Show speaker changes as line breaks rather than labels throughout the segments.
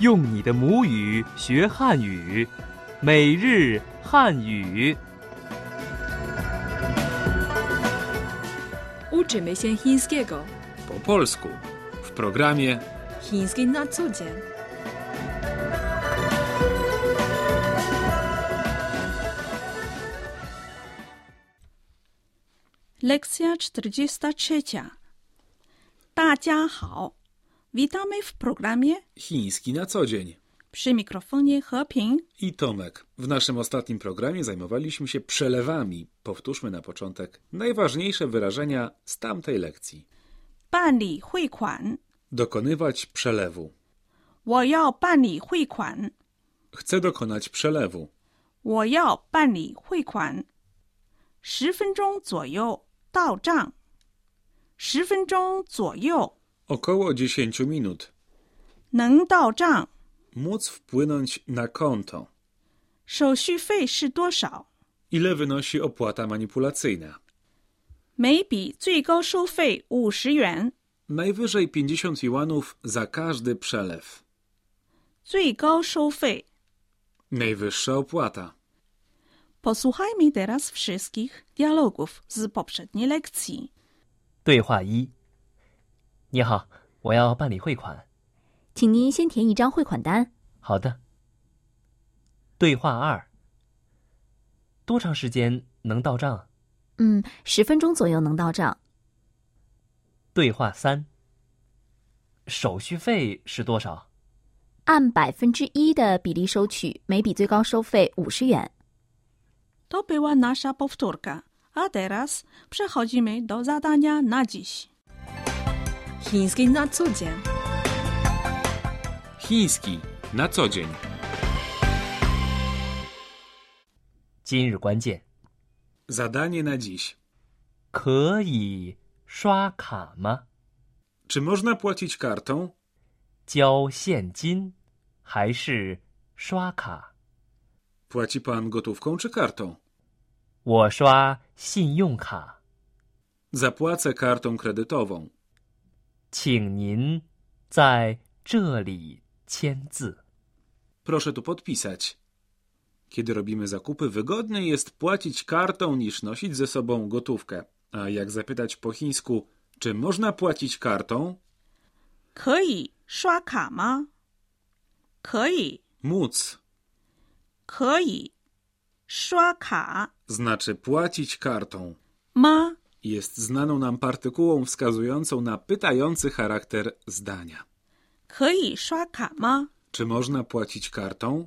用你的母语学汉语，每日汉语。
Uczymy się chińskiego.
po polsku w programie
Chiński na co dzień.
Lekcja 43. 大家好，witamy w programie
Chiński na co dzień.
przy mikrofonie Heping.
I Tomek. W naszym ostatnim programie zajmowaliśmy się przelewami. Powtórzmy na początek najważniejsze wyrażenia z tamtej lekcji.
办理汇款，
Dokonywać przelewu.
我要办理汇款，
Chcę dokonać przelewu.
我要办理汇款。十分钟左右到账，十分钟左右
Około 10 minut.
能到账。
Móc wpłynąć na konto.
手续费是多少？
Ile wynosi opłata manipulacyjna?
每笔最高收费五十元，
Najwyżej 50 juanów za każdy przelew.
最高收费。
Najwyższa opłata.
Posłuchajmy teraz wszystkich dialogów z poprzedniej lekcji.
对话一：你好，我要办理汇款。
请您先填一张汇款单，
好的。对话二：多长时间能到账？
嗯，十分钟左右能到账。
对话三：手续费是多少？
按百分之一的比例收取，每笔最高收费五十元。
To była nasza powtórka. A teraz przechodzimy do zadania na dziś.
Chiński na co dzień.
Chiński na co dzień.
今日关键：
Zadanie na dziś.
可以刷卡吗？
Czy można płacić kartą?
交现金还是刷卡？
Płaci pan gotówką czy kartą?
我刷信用卡，
Zapłacę kartą kredytową.
请您在这里签字。
Proszę tu podpisać. Kiedy robimy zakupy, wygodniej jest płacić kartą niż nosić ze sobą gotówkę. A jak zapytać po chińsku, czy można płacić kartą?
可以刷卡吗？可以，
Móc
可以刷卡
znaczy płacić kartą.
吗？
Jest znaną nam partykułą wskazującą na pytający charakter zdania.
可以刷卡吗？
Czy można płacić kartą?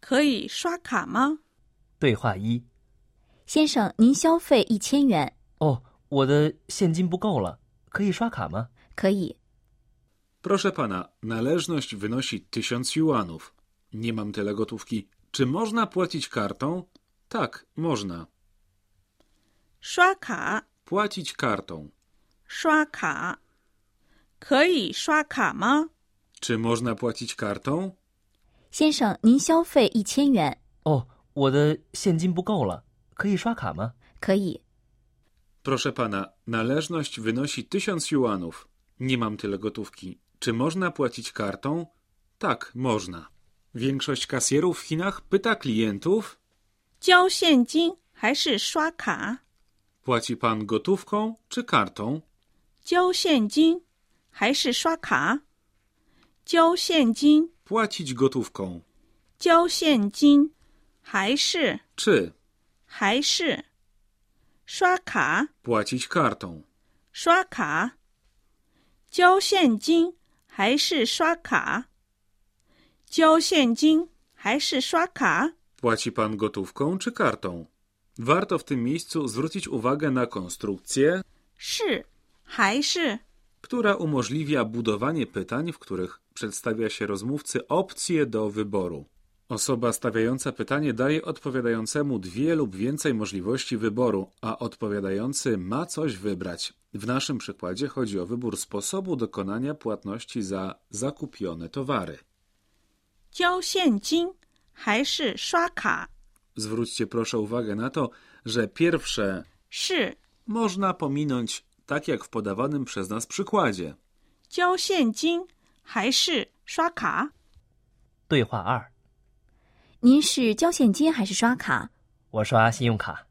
可以刷卡吗？
对话一：
先生，您消费一千元，
哦，我的现金不够了，可以刷卡吗？
可以。
Proszę pana, należność wynosi 1000 juanów. Nie mam tyle gotówki. Czy można płacić kartą? Tak, można.
刷卡，
Płacić kartą.
刷卡，可以刷卡吗？
Czy można płacić kartą?
先生，您消费一千元，
哦，我的现金不够了，可以刷卡吗？
可以。
Proszę pana, należność wynosi 1000 juanów. Nie mam tyle gotówki. Czy można płacić kartą? Tak, można. Większość kasjerów w Chinach pyta klientów:
交现金还是刷卡？
Płaci pan gotówką czy kartą?
交现金还是刷卡？交现金，
Płacić gotówką.
交现金，还是
Czy
还是刷卡？
płacić kartą?
刷卡，交现金还是刷卡？交现金还是刷卡？
Płaci pan gotówką czy kartą? Warto w tym miejscu zwrócić uwagę na konstrukcję,
是还是
która umożliwia budowanie pytań, w których przedstawia się rozmówcy opcje do wyboru. Osoba stawiająca pytanie daje odpowiadającemu dwie lub więcej możliwości wyboru, a odpowiadający ma coś wybrać. W naszym przykładzie chodzi o wybór sposobu dokonania płatności za zakupione towary.
交现金还是刷卡？
Zwróćcie proszę uwagę na to, że pierwsze
是
można pominąć, tak jak w podawanym przez nas przykładzie.
交现金还是刷卡？
对话二，
您是交现金还是刷卡？
我刷信用卡。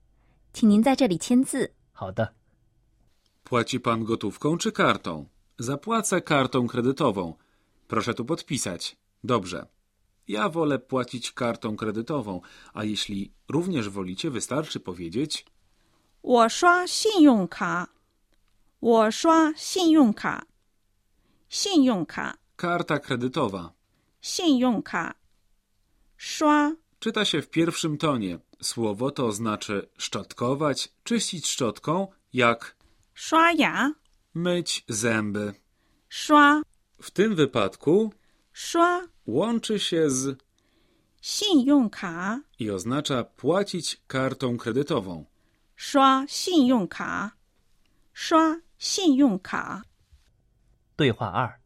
请您在这里签字。
好的，
Płaci pan gotówką czy kartą? Zapłacę kartą kredytową. Proszę tu podpisać. Dobrze. Ja wolę płacić kartą kredytową, a jeśli również wolicie, wystarczy powiedzieć
我刷信用卡，我刷信用卡，信用卡，
karta kredytowa.
信用卡，刷
Czyta się w pierwszym tonie. Słowo to znaczy szczotkować, czyścić szczotką, jak
刷牙，
myć zęby.
刷
W tym wypadku
刷
łączy się z
信用卡，
i oznacza płacić kartą kredytową.
刷信用卡，刷信用卡，
对话二，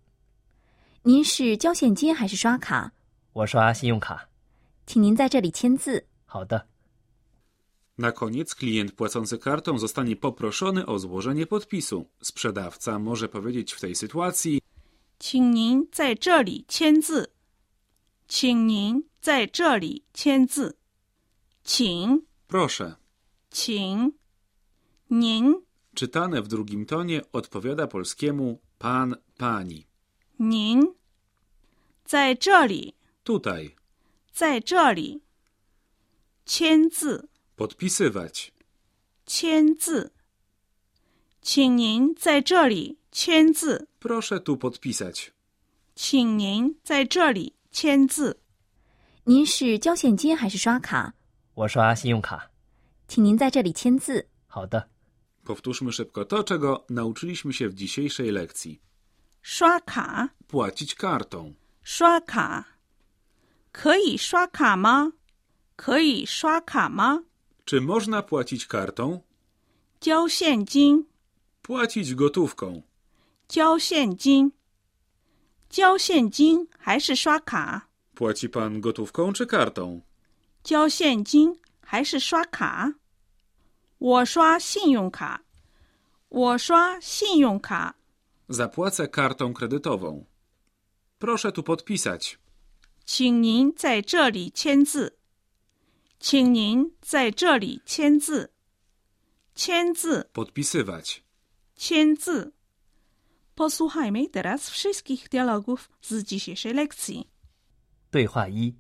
您是交现金还是刷卡？
我刷信用卡。
请您在这里签字。
好的，
Na koniec klient płacący kartą zostanie poproszony o złożenie podpisu. Sprzedawca może powiedzieć w tej sytuacji
请您在这里签字，请您在这里签字，请
proszę.
请您。
Czytane w drugim tonie odpowiada polskiemu pan, pani.
您在这里，
Tutaj.
在这里签字，
Podpisywać.
签字，请您在这里签字，
Proszę tu podpisać.
请您在这里签字，
您是交现金还是刷卡？
我刷信用卡。
请您在这里签字。
好的，
Powtórzmy szybko to, czego nauczyliśmy się w dzisiejszej lekcji.
刷卡，
Płacić kartą.
刷卡，可以刷卡吗？可以刷卡吗？
Czy można płacić kartą?
交现金，
Płacić gotówką.
交现金，交现金还是刷卡？
Płaci pan gotówką czy kartą?
交现金还是刷卡？我刷信用卡，我刷信用卡，
Zapłacę kartą kredytową. Proszę tu podpisać.
请您在这里签字，请您在这里签字，签字，
Podpisywać.
签字。Posłuchajmy teraz wszystkich dialogów z dzisiejszej lekcji.
对话一。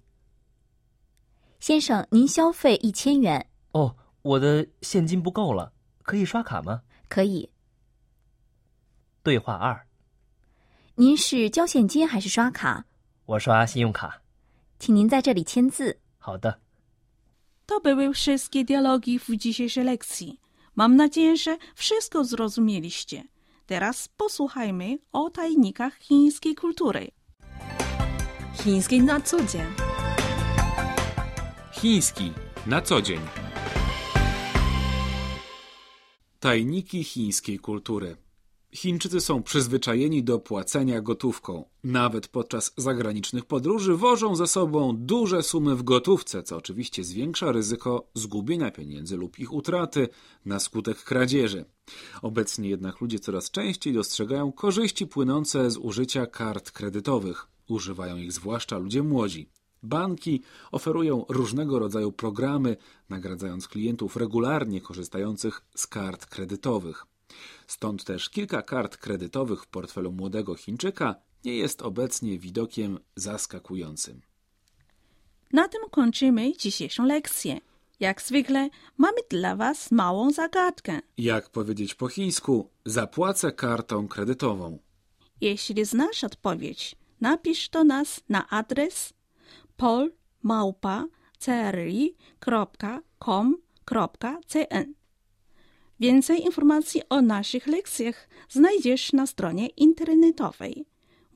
先生，您消费一千元，
哦，我的现金不够了，可以刷卡吗？
可以。
对话二，
您是交现金还是刷卡？
我刷信用卡。
请您在这里签字。
好的，
To były wszystkie dialogi w dzisiejszej lekcji. Mam nadzieję, że wszystko zrozumieliście. Teraz posłuchajmy o tajnikach chińskiej kultury.
Chiński na co dzień.
Chiński na co dzień. Tajniki chińskiej kultury. Chińczycy są przyzwyczajeni do płacenia gotówką. Nawet podczas zagranicznych podróży wożą ze sobą duże sumy w gotówce, co oczywiście zwiększa ryzyko zgubienia pieniędzy lub ich utraty na skutek kradzieży. Obecnie jednak ludzie coraz częściej dostrzegają korzyści płynące z użycia kart kredytowych. Używają ich zwłaszcza ludzie młodzi. Banki oferują różnego rodzaju programy, nagradzając klientów regularnie korzystających z kart kredytowych. Stąd też kilka kart kredytowych w portfelu młodego Chińczyka nie jest obecnie widokiem zaskakującym.
Na tym kończymy dzisiejszą lekcję. Jak zwykle mamy dla Was małą zagadkę.
Jak powiedzieć po chińsku, zapłacę kartą kredytową.
Jeśli znasz odpowiedź, napisz do nas na adres polmałpa.cri.com.cn. Więcej informacji o naszych lekcjach znajdziesz na stronie internetowej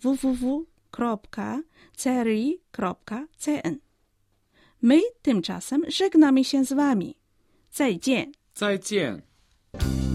www.cri.cn. My tymczasem żegnamy się z Wami. 再见。
再见.